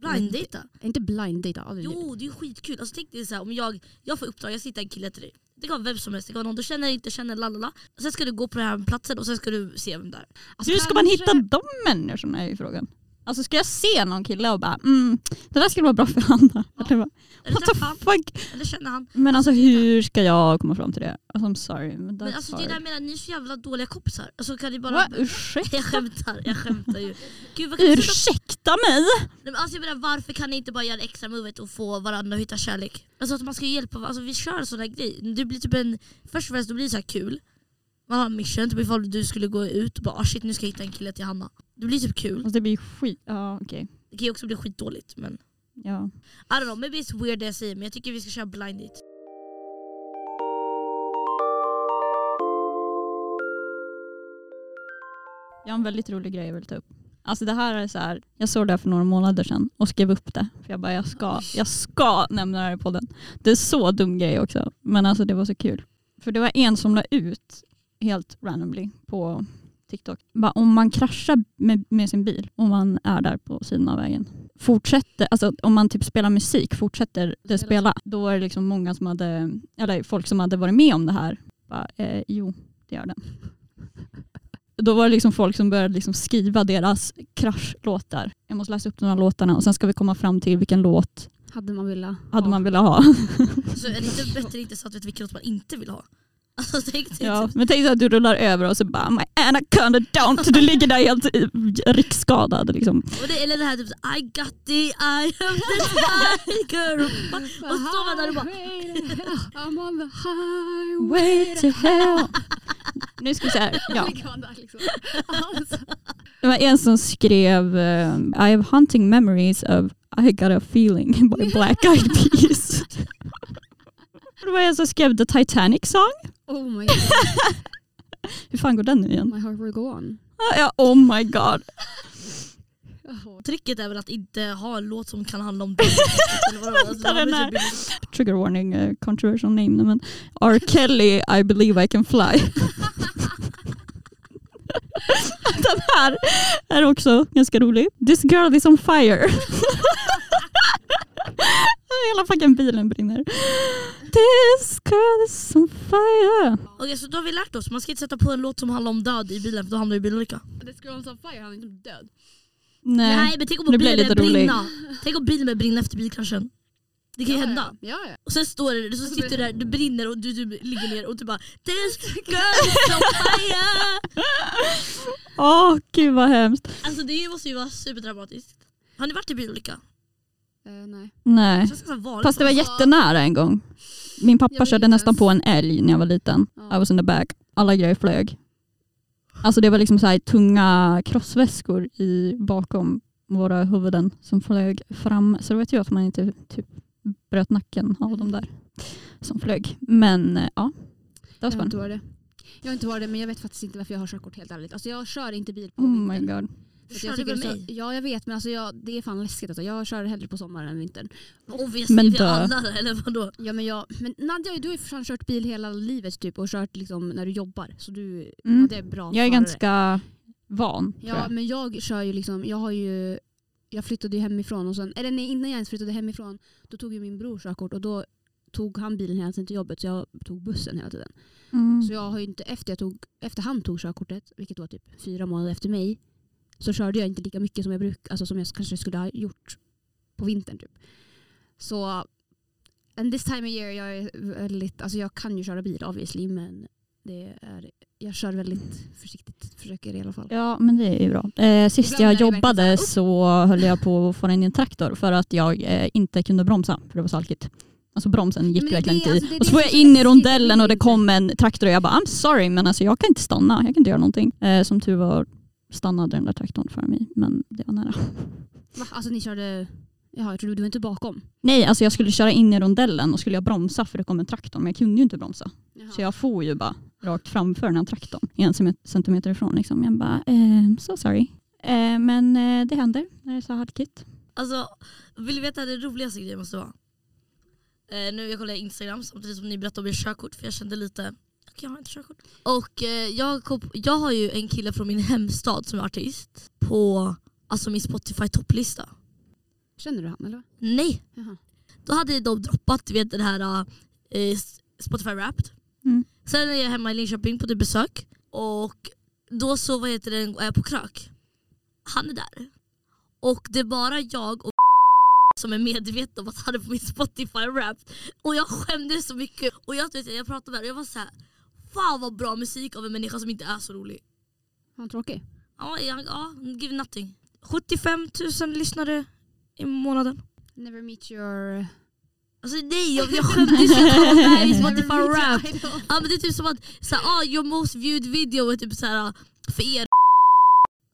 B: blind data.
C: inte blind date, aldrig.
B: Jo det är ju skitkul, alltså, tänk dig så här, om jag, jag får uppdrag, jag sitter en kille till dig. Det kan vara vem som helst, det kan vara någon du känner inte känner, lalala. Sen ska du gå på den här platsen och sen ska du se vem där.
C: Alltså,
A: Hur ska man
C: kanske-
A: hitta de människorna är ju frågan. Alltså ska jag se någon kille och bara mm, det där skulle vara bra för Hanna.
B: Ja.
A: Eller bara,
B: Eller
A: what the
B: träffa han,
A: fuck?
B: eller känna han.
A: Men alltså
B: Alltså, det är
A: hur ska jag komma fram till det? Alltså I'm sorry. Men,
B: Men alltså, det är där jag menar, ni är så jävla dåliga kompisar. Alltså, kan ni bara...
A: Va? Ursäkta,
B: Jag skämtar, jag skämtar ju. Gud, vad kan vi sluta
A: ursäkta mig?
B: Nej, men alltså jag menar, varför kan ni inte bara göra det extra movet och få varandra att hitta kärlek? Alltså att man ska ju hjälpa varandra, alltså vi kör en sån här grej. Det blir typ en, först och främst då blir det så här kul. Man har en mission, typ ifall du skulle gå ut och bara ah, shit nu ska jag hitta en kille till Hanna. Det blir typ kul.
A: Alltså det blir ju skit... Ja okej.
B: Det kan ju också bli skitdåligt men
A: Ja.
B: I don't know, maybe it's weird det jag säger men jag tycker vi ska köra blind date.
A: Jag har en väldigt rolig grej jag vill ta upp. Alltså det här är så här, jag såg det här för några månader sedan och skrev upp det. För jag bara, jag ska, jag ska nämna det här i podden. Det är så dum grej också. Men alltså det var så kul. För det var en som la ut, helt randomly, på TikTok. Bara, om man kraschar med, med sin bil och man är där på sidan av vägen. Fortsätter, alltså om man typ spelar musik, fortsätter det spela. Då är det liksom många som hade, eller folk som hade varit med om det här. Bara, eh, jo, det gör den då var det liksom folk som började liksom skriva deras kraschlåtar. Jag måste läsa upp de här låtarna och sen ska vi komma fram till vilken låt
C: Hade man velat.
A: hade
C: Ja.
A: man velat ha.
B: Så Alltså, är det inte bättre inte så att vet vilken låt man inte vill ha? Alltså tänk dig
A: Ja.
B: typ,
A: Men tänk så att du rullar över och så bara my anaconda down du ligger där helt eh, riksskadad. Liksom.
B: och det, eller det här typ så, I got the eye of the sky girl. Och så står man där och bara
C: I'm on the highway.
A: Way to hell. Oh Nu ska vi se här. Ja.
C: Liksom. Alltså,
A: Det var en som skrev eh, I have haunting memories of I got a feeling by Black Eyed Peas. Det var en som skrev The Titanic Song.
C: oh my god,
A: Hur fan går den nu igen?
C: my heart will go on.
A: Ah, Ja, oh my god.
C: Jaha.
B: Tricket är väl att inte ha en låt som kan handla om det. Eller vadå? Alltså,
A: Vänta,
B: man
A: den
B: blir typ-
A: trigger warning, eh, controversial name. Men R. Kelly, I believe I can fly. Den här är också ganska rolig. This girl is on fire. Hela fucking bilen brinner. This girl is on fire.
B: Okej, så då har vi lärt oss. Man ska inte sätta på en låt som handlar om död i bilen för då hamnar du i bilolycka.
C: The girls on fire, han är inte död.
A: Nej.
B: Nej men tänk om
A: Nu blir jag
B: bilen
A: lite
B: börjar
A: rolig.
B: brinna. Tänk om bilen börjar brinna efter bilkraschen. Det kan ju hända.
C: Ja, ja.
B: Och sen står det, så sitter du där, du brinner och du, du ligger ner och du bara This girl is on fire!
A: Åh gud vad hemskt.
B: Alltså det måste ju vara superdramatiskt. Har ni varit i bilolycka?
C: Eh, nej.
B: Det
A: Nej.
B: känns ganska vanligt.
A: Fast det var jättenära en gång. Min
C: Jag
A: pappa
C: vill
A: körde
C: minnas.
A: nästan på en älg när jag var liten. I
C: Ja.
A: was in the back. Alla grejer flög. Alltså det var liksom så här tunga krossväskor i, bakom våra huvuden som flög fram. Så då vet jag att man inte typ bröt nacken av de där som flög. Men eh, ja, det var
C: Jag har inte
A: spännande.
C: varit det. Jag har inte varit det men jag vet faktiskt inte varför jag har körkort helt ärligt. Alltså jag kör inte bil på
A: Oh my
C: vintern.
A: god.
B: Du
C: För att
B: körde
C: jag tycker
B: väl
C: också-
B: mig?
C: Ja jag vet men alltså jag, det är fan läskigt. Alltså. Jag kör hellre på sommaren än vintern.
B: Och vi
A: Men
B: men
A: dö.
B: alla det, eller vadå?
C: Ja, men, jag, men Nadja du har ju för fan kört bil hela livet typ och kört liksom när du jobbar. Så du,
A: Mm.
C: ja, det är bra.
A: Jag är
C: förare.
A: ganska van tror
C: Ja
A: jag.
C: men jag kör ju liksom, jag har ju jag flyttade ju hemifrån och sen, eller nej, innan jag ens flyttade hemifrån då tog ju min bror körkort och då tog han bilen hela tiden till jobbet så jag tog bussen hela tiden.
A: Mm.
C: Så jag har ju inte, efter, jag tog, efter han tog körkortet, vilket var typ fyra månader efter mig, så körde jag inte lika mycket som jag, bruk, alltså som jag kanske skulle ha gjort på vintern. Typ. Så and this time of year, jag, är väldigt, alltså jag kan ju köra bil obviously, men det är, jag kör väldigt försiktigt, försöker i alla fall.
A: Ja men det är ju bra. Eh, sist
C: Ibland
A: jag
C: är det verkligen
A: jobbade så höll jag på att få den i en traktor för att jag eh, inte kunde bromsa för det var salkigt. Alltså bromsen gick
C: Men det är
A: verkligen
C: det-
A: inte i.
C: alltså det är
A: Och så
C: det
A: var
C: som
A: jag
C: är
A: in i
C: läskigt,
A: rondellen
C: det är
A: och det
C: inte-
A: kom en traktor och jag bara I'm sorry men alltså jag kan inte stanna, jag kan inte göra någonting. Eh, som tur var stannade den där traktorn för mig men det var nära.
C: Va? Alltså ni körde, jaha jag trodde du var inte bakom.
A: Nej alltså jag skulle köra in i rondellen och skulle jag bromsa för det kom en traktor men jag kunde ju inte bromsa. Så jag for ju bara rakt framför den här traktorn, en cem- centimeter ifrån. Liksom. Jag bara, ehm, so sorry. Eh, men eh, det händer när det är så halkigt.
B: Alltså, vill du veta det roligaste grejen måste vara? Eh, nu jag kollar Instagram samtidigt som ni berättade om er körkort för jag kände lite, okej jag har inte körkort. Och eh, jag, kom, jag har ju en kille från min hemstad som är artist på alltså, min Spotify topplista.
C: Känner du han eller?
B: Nej!
C: Jaha.
B: Då hade de droppat du vet, den här eh, Spotify Wrapped.
A: Mm.
B: Sen är jag hemma i Linköping på typ besök och då så vad heter det, är jag på krök. Han är där. Och det är bara jag och som är medvetna om att han är på min Spotify rap. Och jag skämdes så mycket. Och jag, vet, jag pratade med honom och jag var så här. Fan vad bra musik av en människa som inte är så rolig.
C: Han tråkig?
B: Ja, jag, ja give nothing. 75 000 lyssnare i månaden.
C: Never meet your...
B: Alltså nej, jag, jag skämdes ju att han var med i Spotify
C: Never meet
B: rap.
C: your idol.
B: Ja men det är typ som att såhär, ah, your most viewed video är typ såhär, för er.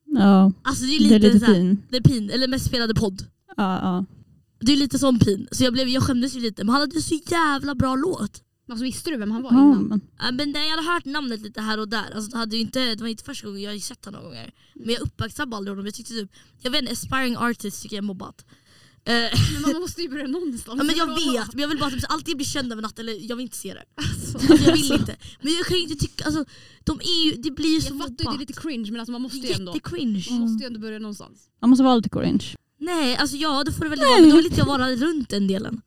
A: Ja,
B: Alltså det är
A: det
B: lite,
A: är lite
B: såhär,
A: fin.
B: det är pin, eller mest spelade podd.
A: Ja, ja.
B: Det är lite sån pin. Så jag, blev, jag skämdes ju lite, men han hade ju så jävla bra låt.
C: Alltså, visste du vem han var
A: Ja,
C: innan?
A: men,
B: Ja, Men nej, jag hade hört namnet lite här och där. Alltså, det, hade ju inte, det var inte första gången, jag har ju sett honom några gånger. Men jag uppmärksammade aldrig honom. Jag tyckte typ, jag vet inte, aspiring artist tycker jag är mobbat. Eh,
C: Men man måste ju börja någonstans.
B: ja, men jag vet, men jag vill bara typ, så alltid bli känd över natten, eller jag vill inte se det.
C: Alltså,
B: Alltså, jag vill inte. Men jag kan ju inte tycka, alltså, de är ju, det blir ju så
C: jag fattar ju det är
B: mobbat.
C: lite cringe men alltså, man måste ju ändå,
B: Jättecringe.
C: man måste ju ändå börja någonstans.
A: man måste vara lite orange.
B: Nej, alltså ja det får det väl vara, men då vill inte jag vara runt den delen.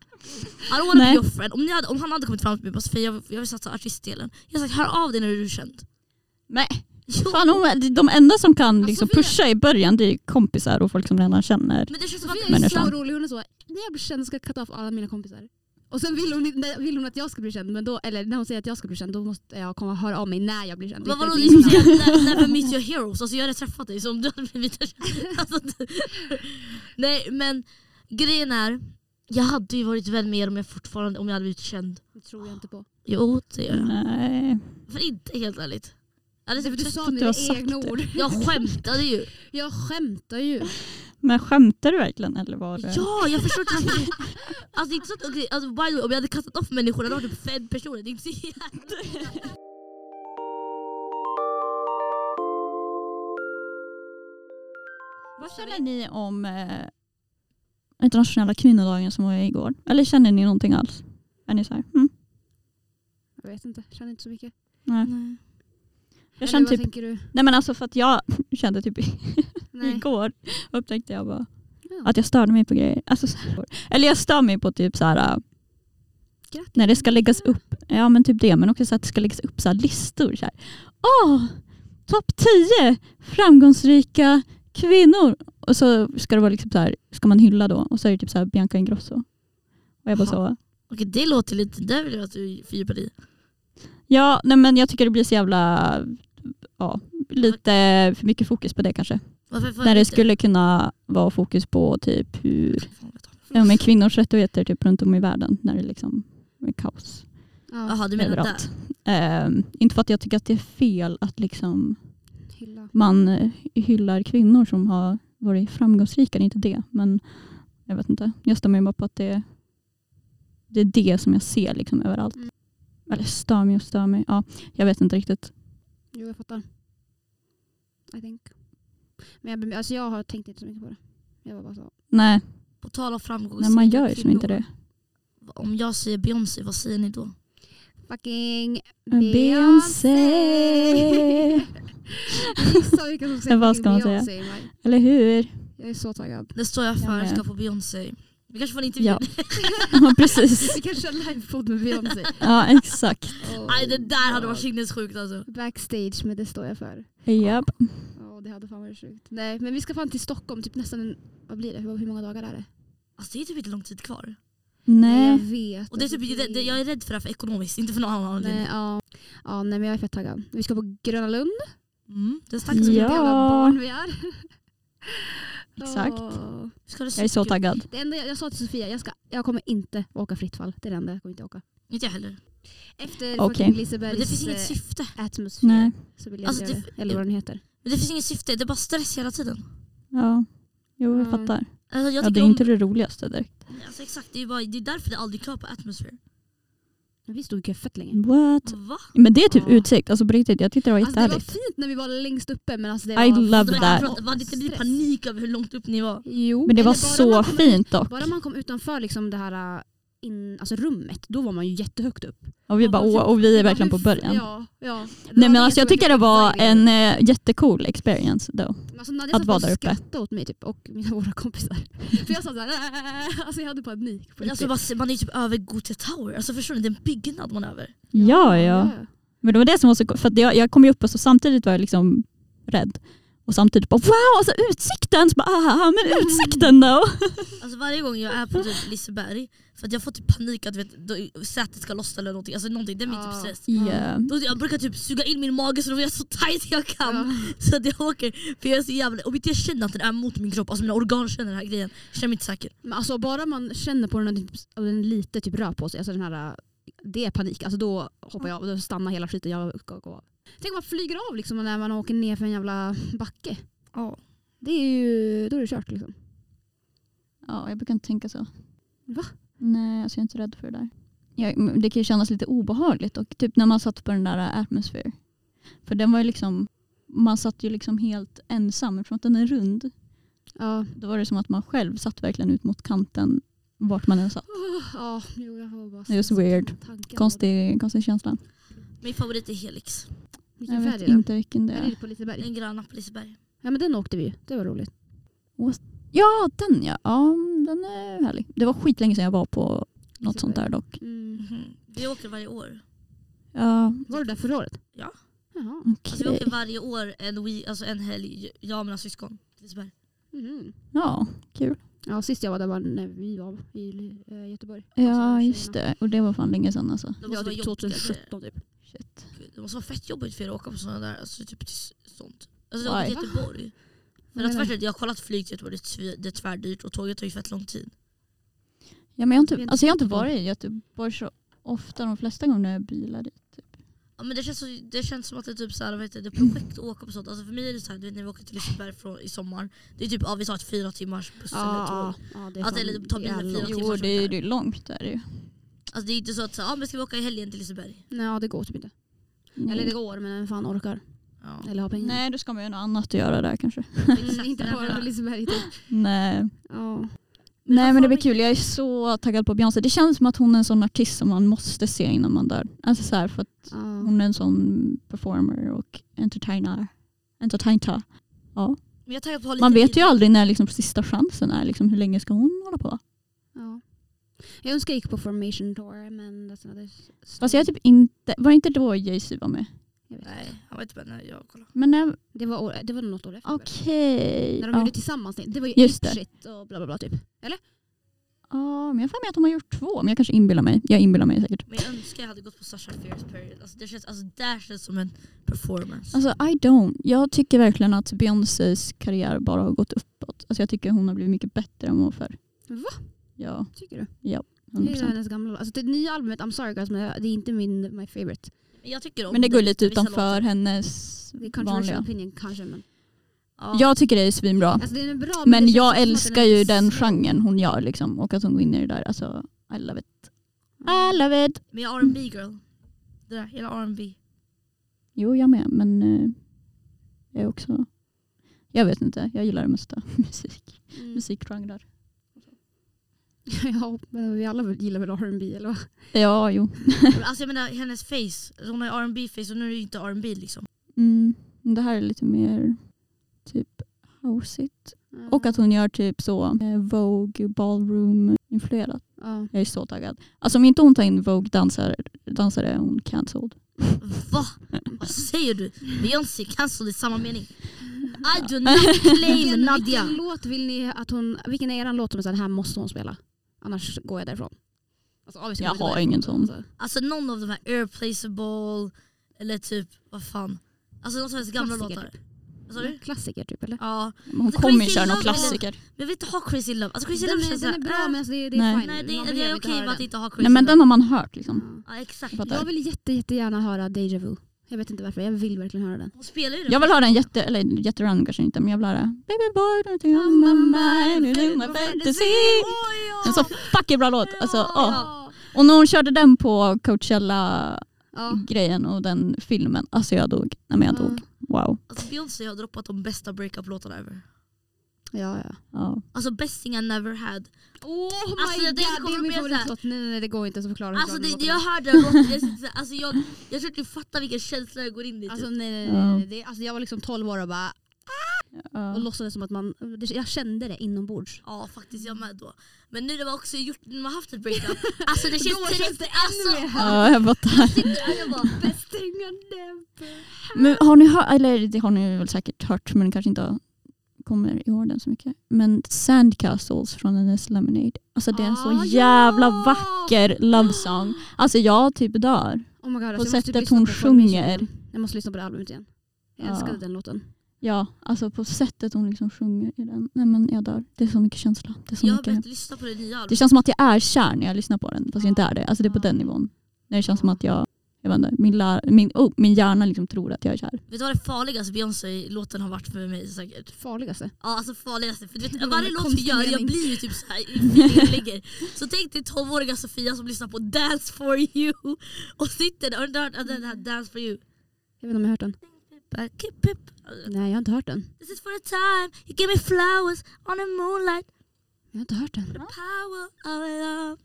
B: I don't wanna be
A: Nej.
B: your friend. Om, ni hade, om han hade kommit fram till mig och bara Sofia, jag, jag vill satsa på artistdelen. Jag har sagt hör av dig när du är känd.
A: Nej,
B: Jo,
A: fan, de- de enda som kan
B: Alltså,
A: liksom
C: Sofia-
A: pusha i början det är kompisar och folk som redan känner.
B: men det känns som att
C: Sofia är
A: Människan.
C: så rolig, hon är så, när jag blir känd ska jag katta av alla mina kompisar. Och sen vill hon, nej, vill hon att jag ska bli känd, men då, eller när hon säger att jag ska bli känd då måste jag komma och höra av mig när jag blir känd.
B: men vadå,
C: Inte
B: det är som att
C: innan.
B: säga ne- never meet your heroes. Alltså jag hade träffat dig så om du hade blivit känd. Alltså, det- Nej men grejen är, jag hade ju varit vän med er om jag fortfarande om jag hade blivit känd.
C: Det tror jag inte på.
B: Jo det gör jag.
A: Nej.
B: För inte helt ärligt. Jag,
C: Det är
B: hade
C: för du
B: typ
C: sa
B: träffat-
A: att
C: med
A: du har
C: dina
A: sagt
C: egna
A: det.
C: ord.
B: jag skämtade ju.
C: Jag skämtar ju.
A: Men skämtar du verkligen eller var det?
B: Ja, jag förstår inte varför. Alltså det är inte så att, okej, alltså, by the way, om jag hade kastat off människor hade det varit typ fem personer. Det är inte så jävla...
A: Vad känner ni om eh, internationella kvinnodagen som var igår? Eller känner ni någonting alls? Är ni så här? Mm.
C: Jag vet inte, känner inte så mycket.
A: Nej.
B: Nej.
A: Jag känner
C: vad
A: typ
C: tänker du?
A: Nej men alltså för att jag kände typ
C: Nej.
A: igår upptäckte jag bara
C: Ja.
A: att jag störde mig på grejer. Alltså, så här. Eller jag stör mig på typ så här äh,
C: Grattis.
A: när det ska läggas upp, ja men typ det, men också så att det ska läggas upp så här listor. Så här. Åh, topp 10 framgångsrika kvinnor. Och så ska det vara liksom så här, ska man hylla då och så är det typ så här Bianca Ingrosso. Och jag bara så,
B: Okej, det låter lite... Där vill jag att du fördjupar dig.
A: ja nej men jag tycker det blir så jävla, ja lite för mycket fokus på det kanske.
B: Varför får
A: När
B: jag
A: det
B: inte-
A: skulle kunna vara fokus på typ hur
B: Fan, vad jag tar.
A: ja, men kvinnors rättigheter typ runt om i världen när det liksom är kaos
C: Ja,
B: Jaha, du menar där?
A: överallt. Ehm, inte för att jag tycker att det är fel att liksom
C: hylla.
A: man eh, hyllar kvinnor som har varit framgångsrika, det är inte det. Men jag vet inte, jag stämmer ju bara på att det Det är det som jag ser liksom överallt.
C: Mm.
A: Eller stör mig och stör mig. Ja, jag vet inte riktigt.
C: Jo, jag fattar. I think. Men jag, alltså jag har tänkt inte så mycket på det. Jag var bara så.
A: Nej,
B: På tal om framgångsrika
A: nej man gör ju som
B: kvinnor.
A: inte det.
B: Om jag säger Beyoncé, vad säger ni då?
C: Fucking
A: Beyoncé!
C: Gissa vilka som säger
A: Vad ska
C: fucking
A: man säga?
C: Beyoncé i maj.
A: Eller hur?
C: Jag är så taggad.
B: Det står jag för,
A: Jag
B: jag
A: med.
B: ska på Beyoncé. Vi kanske får en intervju.
A: Ja, ja precis.
C: Vi kan köra livepodd med Beyoncé.
A: Ja, exakt.
C: Oh
B: Nej, det där hade
C: God.
B: varit sinnessjukt alltså.
C: Backstage, men det står jag för.
A: Japp.
C: Ja, det hade fan varit sjukt. Nej, men vi ska fan till Stockholm typ nästan en, vad blir det? Hur, hur många dagar är det?
B: alltså. Det är typ inte lång tid kvar.
C: jag
A: Nej.
C: vet.
B: Och det är
C: alltså,
B: typ, det, det, jag är rädd för det här för ekonomiskt, inte för någon annan
C: Nej,
B: anledning.
C: ja. ja, nej men jag är fett taggad. Vi ska på Gröna Lund.
B: Mm, det är starkt.
C: Vilket
A: Ja.
C: jävla barn vi är.
A: Exakt.
C: Åh.
B: Vi ska ha det
A: Jag är så
B: kul.
A: taggad.
C: Det enda jag, jag sa till Sofia, jag, ska, jag kommer inte åka fritt fall. Det är det enda jag kommer inte åka.
B: Inte jag heller.
C: Efter
A: Okej.
C: fucking
B: Men det finns
C: Lisebergs
B: inget
C: eh,
B: syfte.
C: atmosfär
A: Nej.
C: så vill jag
B: Alltså,
C: inte göra
B: det-
C: det. Eller vad den heter.
B: Men det finns inget syfte, det är bara stress hela tiden.
A: Ja. Jo, jag
C: Ja.
A: fattar.
B: Alltså, jag
A: Ja, det
B: tycker
A: är
B: om-
A: inte det roligaste direkt.
B: Alltså, exakt, det är, ju bara, det är därför det aldrig är klar på Atmosphere.
C: Men Vi stod i kö fett länge.
A: What?
B: Va?
A: Men det är typ
C: Ja.
A: utsikt. Alltså på riktigt, jag tyckte det var
C: Alltså, det var
A: jättehärligt.
C: fint när vi var längst uppe men alltså det
A: I
C: var...
A: love
B: Det var,
A: that.
B: jag tror att- det inte blir
C: Stress.
B: panik över hur långt upp ni var.
C: Jo.
A: Men det var
C: Eller bara
A: så
C: man kom-
A: fint dock.
C: Bara man kom utanför liksom det här äh, in, alltså rummet, då var man ju jättehögt upp.
A: Och vi bara, åh, och vi är verkligen på början.
C: alltså, Ja, ja. Det var liksom
A: Nej men
C: det
A: alltså
C: som
A: jag tycker det
C: fick
A: var
C: vibe i
A: en eh, jättecool experience då.
C: Men Alltså Nadja
A: att
C: satt
A: vara
C: och
A: där uppe.
C: skrattade åt mig typ, och mina våra kompisar. För jag satt såhär, alltså jag hade panik. På
B: Men Alltså,
C: riktigt.
B: bara- man är ju typ över Gothia Tower. Alltså, förstår ni? Det är en byggnad man är över.
A: Ja, ja. Men det var det som var så för att jag, jag kom ju upp och så samtidigt var jag liksom rädd. Och samtidigt bara wow, alltså utsikten! Så bara, ah, men utsikten då!
B: Alltså, varje gång jag är på typ Liseberg, för att jag får typ panik att du vet, då, sätet ska lossna eller någonting. Alltså, någonting det är min typ
C: Ja.
B: stress.
A: Ja.
B: Då, jag brukar typ suga in min mage så då är jag så tight jag kan.
C: Ja.
B: Så att jag åker. För jag är så jävla... Om inte jag känner att den är mot min kropp, alltså mina organ känner den här grejen, känner mig inte säker.
C: Men alltså bara man känner på den och typ- och den lite typ rör på sig, alltså den här, det är panik. Alltså då hoppar jag av och då stannar hela skiten. Jag ska gå av. Tänk om man flyger av liksom när man åker ner för en jävla backe.
B: Ja.
C: Det är ju, då är det kört liksom.
A: ja, jag brukar inte tänka så.
C: Va?
A: Nej, alltså jag är inte rädd för det där. Jag, men det kan ju kännas lite obehagligt och typ när man satt på den där atmosfär. För den var ju liksom, man satt ju liksom helt ensam eftersom att den är rund.
C: Ja,
A: Då var det som att man själv satt verkligen ut mot kanten vart man än satt.
C: ja jo, jag får bara
A: Det är så weird.
C: tankar.
A: Konstig, konstig känsla.
B: Min favorit är Helix.
A: Jag
C: Vilken
A: vet
C: färg är den?
A: inte vilken det
C: Är
A: är.
C: det på Liseberg?
B: Den gröna på Liseberg.
C: Ja men den åkte vi ju. Det var roligt.
A: Ja, den ja. Ja, den är härlig. Det var skitlänge sedan jag var på något sånt där dock.
C: Mm.
B: Mhm. Vi åker varje år.
A: Ja,
C: Var du där förra året?
B: Ja.
C: Jaha.
B: Alltså, vi
A: okej.
B: åker varje år en, we, alltså en helg, jag och mina syskon. till Liseberg.
A: Mm.
C: Mhm.
A: Ja,
C: Ja, sist jag var där var när vi var i eh, Göteborg.
A: ja, just det. Och det var fan länge sedan alltså.
B: Det
C: Ja,
B: måste,
C: typ
B: vara jobbigt,
C: 2017 typ.
A: Shit.
B: det måste vara fett jobbigt för er att åka på sådana där, alltså, typ till s- sånt. Alltså jag
A: Why?
B: åker till Göteborg. Men
C: Vad
B: att
C: menar
B: först, jag har kollat flyg till Göteborg, det är tv- det är tvärdyrt och tåget tar ju fett lång tid.
A: Ja, men jag, har
C: Vi har
A: inte,
C: inte
A: alltså, jag har inte
C: tänkt på
A: varit i Göteborg så ofta. De flesta gånger jag bilar dit.
B: Ja, men det, känns så, det känns som att det är typ så här, vad heter det, projekt att åka på sånt. Alltså för mig är det så här, du vet, när vi åker till Liseberg från, i sommar, det är typ ja, vi tar ett fyra timmars buss eller
C: Ja,
B: tåg.
C: ja, det
B: Alltså,
C: fan-
B: eller ta
C: det är
B: bilen fyra
C: långt.
B: timmar. Jo, det är ju
A: långt där ju.
B: Alltså det är inte så att så, här, ja, men ska vi åka i helgen till Liseberg?
C: Nej, ja, det går typ inte. Eller det går, men vem fan orkar?
B: Ja.
C: Eller har pengar.
A: Mm. Nej, då ska man ju ha något annat att göra där kanske.
C: Mm, inte
B: Nej,
C: bara
B: men-
C: på Liseberg. typ.
A: Nej.
C: Ja.
A: Nej
B: vad
A: men det
B: fan
A: blir
B: vi-
A: kul, jag är så taggad på Beyoncé. Det känns som att hon är en sån artist som man måste se innan man dör. Alltså så här, för att
C: Ja.
A: hon är en sån performer och entertainer. entertainer. Ja.
B: Men jag är taggad på att ha lite
A: Man vet ju
B: tid.
A: aldrig när liksom sista chansen är. Liksom, hur länge ska hon hålla på?
C: ja. Jag önskar jag gick på Formation Tour, men that's another story.
A: Fast jag typ inte, var det inte då Jay-Z var med?
C: Jag vet.
B: Nej, han var inte med när jag kollade.
A: Men när-
C: Det var, år, det var något år efter.
A: okej.
C: När de
A: Ja.
C: gjorde tillsammans. Det var ju
A: Just
C: Just
A: det.
C: shit och bla bla bla typ.
A: Ja, men jag har för mig att de har gjort två. Men jag kanske inbillar mig. Jag inbillar mig säkert.
B: Men jag önskar jag hade gått på Sasha Fierce period. Alltså det känns, alltså där känns som en performance.
A: Alltså I don't. Jag tycker verkligen att Beyoncés karriär bara har gått uppåt. Alltså jag tycker hon har blivit mycket bättre än vad hon var förr.
C: Va?
A: Ja,
C: Tycker du?
A: 100%.
C: Jag gillar hennes gamla Alltså det nya albumet I'm sorry guys, men det är inte min my favorite.
B: Men jag tycker om
A: Men det går lite
B: vissa
A: utanför
B: låtar.
A: hennes
C: Det är controversial
A: vanliga.
C: opinion kanske men.
B: Ja.
A: Jag tycker det är svinbra.
C: Alltså, det är en bra,
A: Men
C: det känns
A: jag
C: som att
A: älskar
C: är
A: ju den
C: så-
A: genren hon gör liksom, och att hon går in i det där. Alltså, I love it. I love it.
B: Men jag är R&B girl. Det där, hela R&B.
A: Jo, jag med. Men eh, jag är också... Jag vet inte. Jag gillar det mesta. Musik.
C: Mm.
A: Musikgenrer.
C: ja, men vi alla gillar väl R&B eller vad?
A: Ja, jo.
B: Alltså jag menar hennes face, alltså, hon har ju R&B face och nu är det ju inte R&B liksom.
A: Mm. men Det här är lite mer typ houseigt. Och att hon gör typ så eh, Vogue ballroom-influerat.
C: Ja.
A: Jag är så taggad. Alltså om inte hon tar in Vogue-dansare dansare är hon cancelled.
B: Va? Vad säger du? Beyoncé cancelled i samma mening. I do not claim
C: Vilken,
B: Nadia.
C: vilken låt vill ni att hon, vilken är eran låt som är så här, den här måste hon spela? Annars går jag därifrån. Alltså, obviously
A: Jag
C: kommer
A: har
C: gå därifrån,
A: ingen sån.
C: alltså.
B: Alltså någon av de här Irreplaceable eller typ vad fan. Alltså någon av hennes gamla
C: Klassiker, typ.
B: låtar. Vad sa du?
C: Klassiker typ eller?
B: Ja,
A: Men hon
B: Alltså,
A: kommer ju
B: Crazy
A: köra någon
B: Love eller-
A: klassiker.
B: men jag vill inte ha Crazy Love. Alltså Crazy
C: Den
B: Love
C: är,
B: känns
C: den är
B: såhär,
C: bra
B: äh,
C: men alltså, det, det är
A: Nej.
C: fine.
B: Nej det,
C: Man
B: det,
C: behöver
B: är
C: inte
B: okej
C: höra
B: med att inte ha Crazy
A: Nej men
B: Love.
A: den har man hört liksom.
C: Ja.
B: Ja, exakt.
A: Jag fattar.
C: Jag vill jätte, jättegärna höra Deja Vu. Jag vet inte varför, jag vill verkligen höra den.
B: Hon spelar ju den.
A: Jag vill höra en jätte, eller jätterandom kanske inte, men jag vill höra Baby boy don't you on my mind, you do my fantasy.
B: Oj, ja.
A: En så fucking bra låt. Alltså, ja.
B: Ja.
A: Och när hon körde den på Coachella-grejen
C: Ja.
A: och den filmen, alltså jag dog. Nej men jag
C: Ja.
A: dog. Wow.
B: Alltså Beyoncé har droppat de bästa breakup-låtarna ever.
C: Ja, ja.
A: Ja.
B: Alltså Bästing I never had.
C: Oh my
B: Alltså,
C: god,
B: jag
C: det
B: tänkte komma
C: är min
B: med
C: favoritlåt. Nej, nej, nej, det går inte ens att förklara. hur
B: Alltså
C: bra den
B: det,
C: låten
B: jag
C: är.
B: hörde den låten, jag, sitter så här, alltså, jag, jag tror inte du fattar vilken känsla jag går in i. Typ.
C: Alltså, nej, nej, nej, nej. Det, alltså, jag var liksom 12 år och bara
A: Ja.
C: och låtsades som att man, det- jag kände det inombords.
B: Ja faktiskt jag med då. Men nu när man också gjort, när man haft ett breakup, alltså det känns
C: Då känns det
B: direkt, alltså,
C: ännu mer.
A: Ja, jag fattar.
B: sitter jag bara, "Ah,
A: Men har ni hört, eller det har ni väl säkert hört men kanske inte kommer ihåg den så mycket. Men Sandcastles från hennes Lemonade. Alltså det är en så
C: Ah,
A: jävla
C: ja!
A: vacker love song. Alltså jag typ dör.
C: Oh my god, alltså,
A: På
C: jag måste
A: sättet
C: lyssna
A: hon
C: på Formation
A: sjunger.
C: igen. Jag måste lyssna på det albumet igen. Jag
A: Ja.
C: älskade den låten.
A: Ja, alltså på sättet hon liksom sjunger i den. Nej men jag dör. Det är så mycket känsla. Det, är så
B: jag har
A: mycket.
B: börjat lyssna på det nya
A: det
B: albumet.
A: känns som att jag är kär när jag lyssnar på den fast jag inte
C: Ja.
A: är det. Alltså det är på
C: Ja.
A: den nivån. När det känns som att jag, jag vet inte, min, lär, min, oh, min hjärna liksom tror att jag är kär.
B: Vet du vad det farligaste Beyoncé-låten har varit för mig säkert?
C: Farligaste.
B: Ja alltså farligaste, för du
C: Det
B: vet,
C: var
B: varje
C: en
B: låt vi
C: konstig
B: gör jag
C: mening.
B: blir ju typ såhär i Så tänk dig 12-åriga Sofia som lyssnar på Dance for you och sitter där, har du inte hört den här Dance for you?
C: Jag vet inte om jag har hört den.
B: Back, pip, pip.
C: Nej, jag har inte hört den.
B: Alltså, This is for a time you give me flowers on the moonlight
C: Jag har inte hört den.
B: Power of love.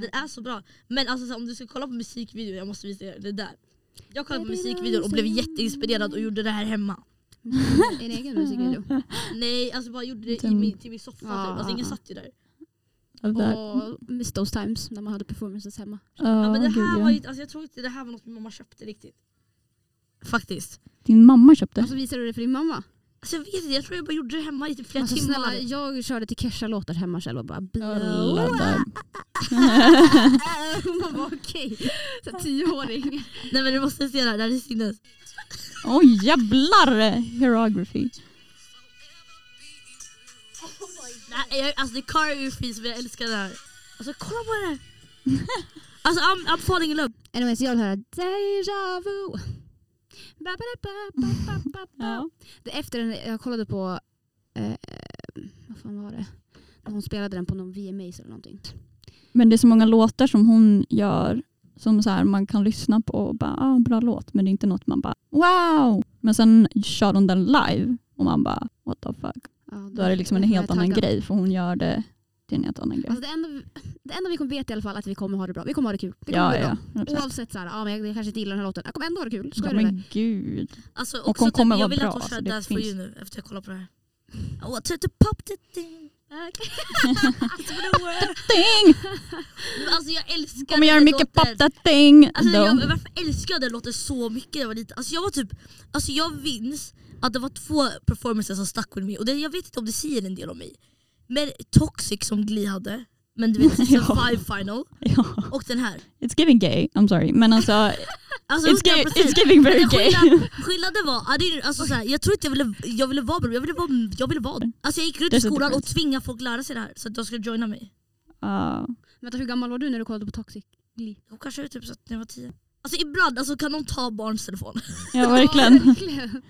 B: Den är så bra. Men alltså, så här, om du ska kolla på musikvideon, jag måste visa er det där. Jag kollade på musikvideon och blev jätteinspirerad och gjorde det här hemma.
C: En egen musikvideo.
B: Nej, alltså bara gjorde det i
A: Den-
B: min, till min soffa typ. Alltså ingen satt ju där.
A: Av det här.
C: Och Miss Those Times när man hade performances hemma.
B: Ja, men det
A: gud,
B: här
A: ja.
B: var ju, alltså, jag tror inte det här var något min mamma köpte riktigt. Faktiskt.
A: Din mamma köpte.
C: Och så visade du det för din mamma.
B: Alltså jag vet inte, jag tror jag bara gjorde det hemma i typ flera
C: Alltså,
B: timmar.
C: snälla, jag körde till Kesha-låtar hemma själv och bara
A: Alla där.
C: Hon bara okej, okay. tioåring.
B: Nej men du måste se det här, det här är sinnes.
A: Oj jävlar! Hierography.
B: Det här, jag, alltså det är choreografin som jag älskar det här. Alltså kolla på det här. Alltså I'm, I'm falling in love.
C: Anyways, jag vill höra Deja Vu. Ba, ba, da, ba, ba, ba, ba, ba.
A: Ja.
C: Det- Efter den, jag kollade på, eh, vad fan var det? När hon spelade den på någon VMAs eller någonting.
A: Men det är så många låtar som hon gör som så här, man kan lyssna på och bara ah, bra låt men det är inte något man bara wow. Men sen kör hon den live och man bara what the fuck.
C: Ja,
A: Då är det liksom en
C: jag är
A: helt annan
C: taggad.
A: grej för hon gör det till en helt annan grej.
C: Alltså det, enda, vi- det enda vi kommer veta i alla fall är att vi kommer ha det bra. Vi kommer ha det kul. Det kommer
A: Ja,
C: bli bra.
A: ja. 100%.
C: Oavsett så här, ja, men jag, jag kanske inte gillar den här låten. Jag kommer ändå ha det kul. Skojar
A: Ja,
C: du eller?
A: men gud.
B: Alltså,
A: Och
B: också
A: hon
B: typ,
A: kommer vara
B: jag vill
A: bra,
B: att hon
A: alltså,
B: kör
A: det
B: Dance for
A: finns.
B: you nu efter jag kollar på det här. I want you to pop the thing back to the world.
A: Ding!
B: Men Alltså jag älskar
A: Kommer göra
B: den
A: mycket
B: låten.
A: pop that thing.
B: Alltså
A: Då.
B: jag, varför älskar jag den låten så mycket när jag var liten? Alltså jag var typ, alltså jag minns att det var två performances som stack with me och det, jag vet inte om det säger en del om mig. Men Toxic som Glee hade, men du vet season
A: Ja.
B: 5 final
A: Ja.
B: och den här.
A: It's giving gay, I'm sorry. Men alltså
B: Alltså
A: it's, gi-
B: 100%.
A: it's giving very
B: Men
A: gay.
B: skillnad, skillnaden var, ja, det är- alltså, såhär, jag tror inte jag ville, jag ville vara bro, jag ville vara, jag ville vara. Alltså, jag gick runt i
A: There's a
B: skolan och
A: difference.
B: tvingade folk lära sig det här så att de skulle joina mig.
A: Ja.
C: Vänta, hur gammal var du när du kollade på Toxic?
B: Och kanske är typ så att när jag var tio. Alltså ibland alltså, kan de ta barns telefon.
A: ja verkligen.
C: verkligen.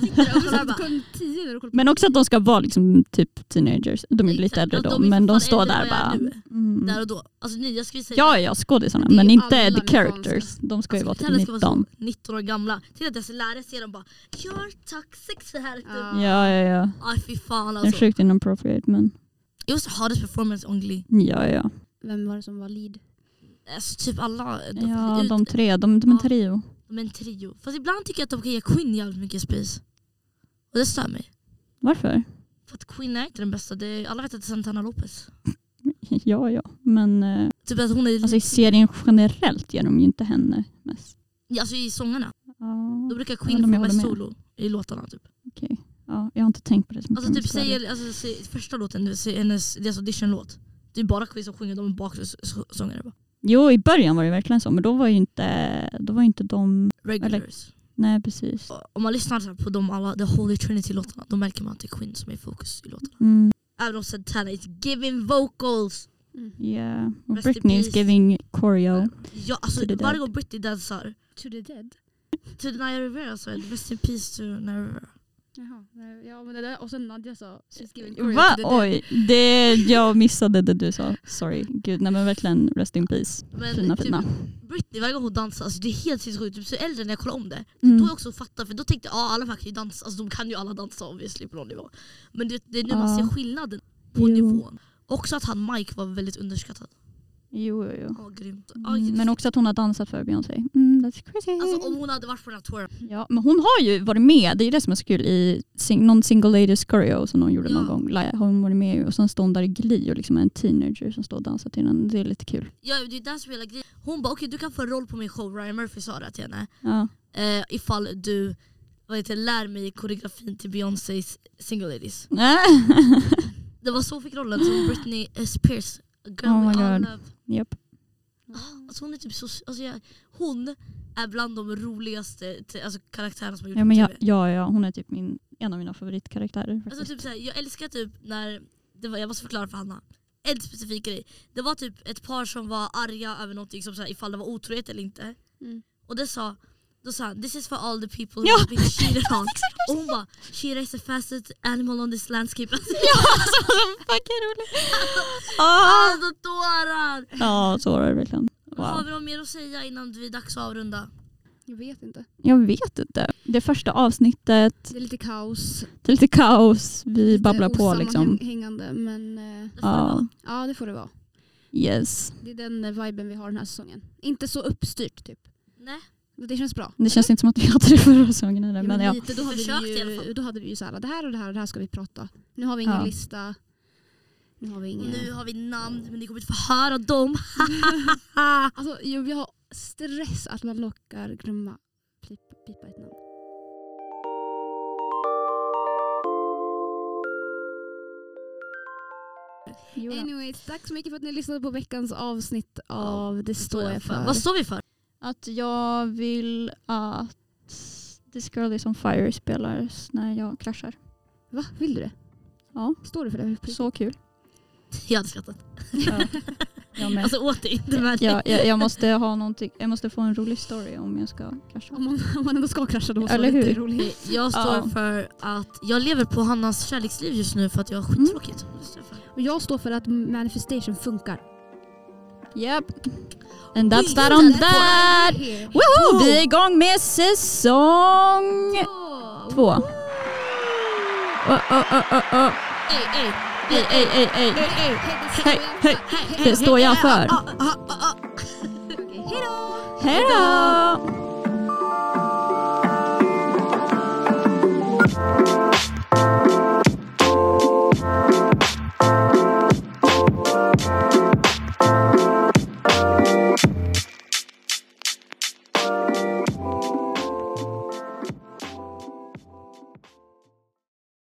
B: sitter och
C: Du
B: kollar
C: satt
B: bara.
C: klockan tio när du kollade på
A: Men också att de ska vara liksom typ teenagers. De är ju lite
B: Exakt,
A: äldre
B: och
A: då
B: de är
A: men de
B: fortfarande
A: står
B: äldre
A: där
B: än vad jag
A: bara.
B: är nu.
A: Mm.
B: Där och då. Alltså nya ska vi säga.
A: Ja, ja skådisarna
C: Det är
A: men
C: ju
A: inte
C: alla
A: the characters. De ska ju vara
B: Karaktären
A: typ
B: Alltså, ska så
A: 19.
B: 19 år gamla. Till att dess lärare ser dem bara “You're toxic” så här typ.
C: Ja.
A: Ja,
B: Ja.
A: ja, ja.
B: Aj fy fan
A: Det är
B: alltså.
A: sjukt inappropriate men
B: It was the hardest performance on Glee.
A: ja, ja.
C: Vem var det som var lead?
B: Alltså typ alla. De,
A: Ja,
B: ut,
A: de tre, de, de är en
B: Ja.
A: trio.
B: de är en trio. Fast ibland tycker jag att de kan ge Quinn jävligt mycket space. Och det stör mig.
A: Varför?
B: För att Quinn är inte den bästa. Det är, alla vet att det är Santana Lopez.
A: Ja, ja. Men eh,
B: Typ att hon är
A: alltså, i serien generellt ger de ju inte henne mest.
B: alltså i sångarna.
A: Ja,
B: Då brukar
A: Ja, de
B: Quinn få
A: håller
B: mest
A: med.
B: solo i låtarna. Typ.
A: okej. Ja, jag har inte tänkt på det så mycket.
B: Alltså
A: om jag
B: typ
A: ska vara
B: säger, alltså, säger första låten, det är hennes, deras auditionlåt. Det är bara Queen som sjunger, de är bakgrundssångare bara.
A: ärlig. Jo, i början var det verkligen så. Men då var ju inte, då var ju inte de...
B: Regulars.
A: Nej, precis.
B: Och Om man lyssnar så här på de alla, The Holy Trinity-låtarna, då märker man att det är Queen som är i fokus i låtarna.
A: Mm,
B: Även om Santana is giving vocals.
C: Mm.
A: yeah. Och
B: Rest in
A: Britney is
B: peace.
A: giving choreo.
B: Ja, alltså,
A: To the
B: varje
A: dead.
B: gång Britney dansar,
C: To the dead.
B: to Naya Rivera så är det Rest in Peace to Naya Rivera.
C: Jaha. nej, Ja, men det där. Och sen Nadja sa she's giving Korea
A: Va?
C: to the dead.
A: Oj, det, jag missade det du sa. Sorry. Gud, nej men verkligen rest in peace.
B: Men
A: Fina,
B: typ,
A: fina.
B: Britney varje gång hon dansar, alltså, det är helt sinnessjukt. Typ, så äldre när jag kollar om det,
A: Mm.
B: då har jag också fattat, för då tänkte jag ah, alla kan ju dansa, alltså, de kan ju alla dansa obviously på någon nivå. Men det, det är nu man
A: Ja.
B: ser skillnaden på
A: Jo.
B: nivån. Också att han Mike var väldigt underskattad.
A: Jo, jo, jo.
B: Ja, grymt. Ja,
A: Mm, men också att hon har dansat för Beyoncé. Mm, that's crazy.
B: Alltså om hon hade varit på den här touren.
A: Ja, men hon har ju varit med, det är ju det som är så kul, i sing, någon single ladies choreo som hon gjorde någon
B: Ja.
A: gång. Har hon varit med i och sen står hon där i Glee och liksom är en teenager som står och dansar till den. Det är lite kul.
B: Ja, det är där som är hela grejen. Hon bara okej du kan få en roll på min show, Ryan Murphy sa det till henne.
A: Ja.
B: Eh, ifall du vad heter, det, lär mig koreografin till Beyoncés Single Ladies. Det var så hon fick rollen som Britney Spears. A Girl
A: Oh
B: we
A: my
B: all
A: God.
B: love.
A: Japp.
B: Alltså hon är typ så, alltså jag, hon är bland de roligaste te- alltså, karaktärerna som har gjort
A: ja, men jag,
B: TV.
A: ja, ja, hon är typ min, en av mina favoritkaraktärer. faktiskt.
B: Alltså, typ såhär, jag älskar typ när, det var, jag måste förklara för Hanna, en specifik grej. Det var typ ett par som var arga över någonting, som såhär, ifall det var otrohet eller inte.
C: Mm.
B: Och det sa, då sa han “this is for all the people who
A: Ja.
B: have been cheated on”. och hon bara “Shira is the fastest animal on this landscape”. Alltså,
A: Fucking rolig. Ah.
B: alltså tårar!
A: Ja, så var det verkligen. Wow.
B: Har vi något mer att säga innan det är dags att avrunda?
C: Jag vet inte.
A: Jag vet inte. Det första avsnittet,
C: Det är lite kaos.
A: det är lite kaos, vi
C: lite
A: babblar på liksom.
C: osammanhängande, men eh,
B: Det får det
A: Ja,
B: vara.
C: ja, det får det vara.
A: yes.
C: Det är den eh, viben vi har den här säsongen. Inte så uppstyrt typ.
B: Nej.
C: Det känns bra.
A: Det känns inte som att vi hade det förra säsongen heller, men ja.
C: lite, då, hade
B: Försökt i
C: vi
B: alla
C: ju,
B: fall.
C: då hade vi ju så här, det här och det här och det här ska vi prata. Nu har vi ingen
A: Ja.
C: lista. Nu har vi
B: Och
C: ingen...
B: nu har vi namn, men ni kommer inte få höra dem.
C: Alltså, jag, jag har stress att man lockar glömma pipa, pipa ett namn.
A: Jo då.
C: Anyways, tack så mycket för att ni lyssnade på veckans avsnitt av Det står jag för.
B: Vad står vi för?
A: Att jag vill att This Girl Is On Fire spelas när jag kraschar.
C: Va? Vill du det?
A: Ja.
C: Står du för det?
A: Så kul.
B: Jag hade skrattat.
A: Ja. Jag, med.
B: Alltså åt dig, inte med dig.
A: Ja, jag, jag, måste ha någonting, jag måste få en rolig story om jag ska krascha.
C: Om man, om man ändå ska krascha då måste
A: Eller
C: det
A: hur?
C: vara roligt.
B: Jag står
A: Ja.
B: för att jag lever på Hannas kärleksliv just nu för att jag har skittråkigt. Det står jag för.
C: Och jag står för att manifestation funkar.
A: Yep. And that's that on that! Woho! Vi är igång med säsong två. Oh, oh, oh, oh, oh.
B: Ey, ey,
A: Ej, ej, ej, ej.
C: Hej,
A: Hej, hej.
B: hej, hej,
A: Det står jag för.
B: ah, ah, ah, ah.
C: Hej då!
A: Hej då!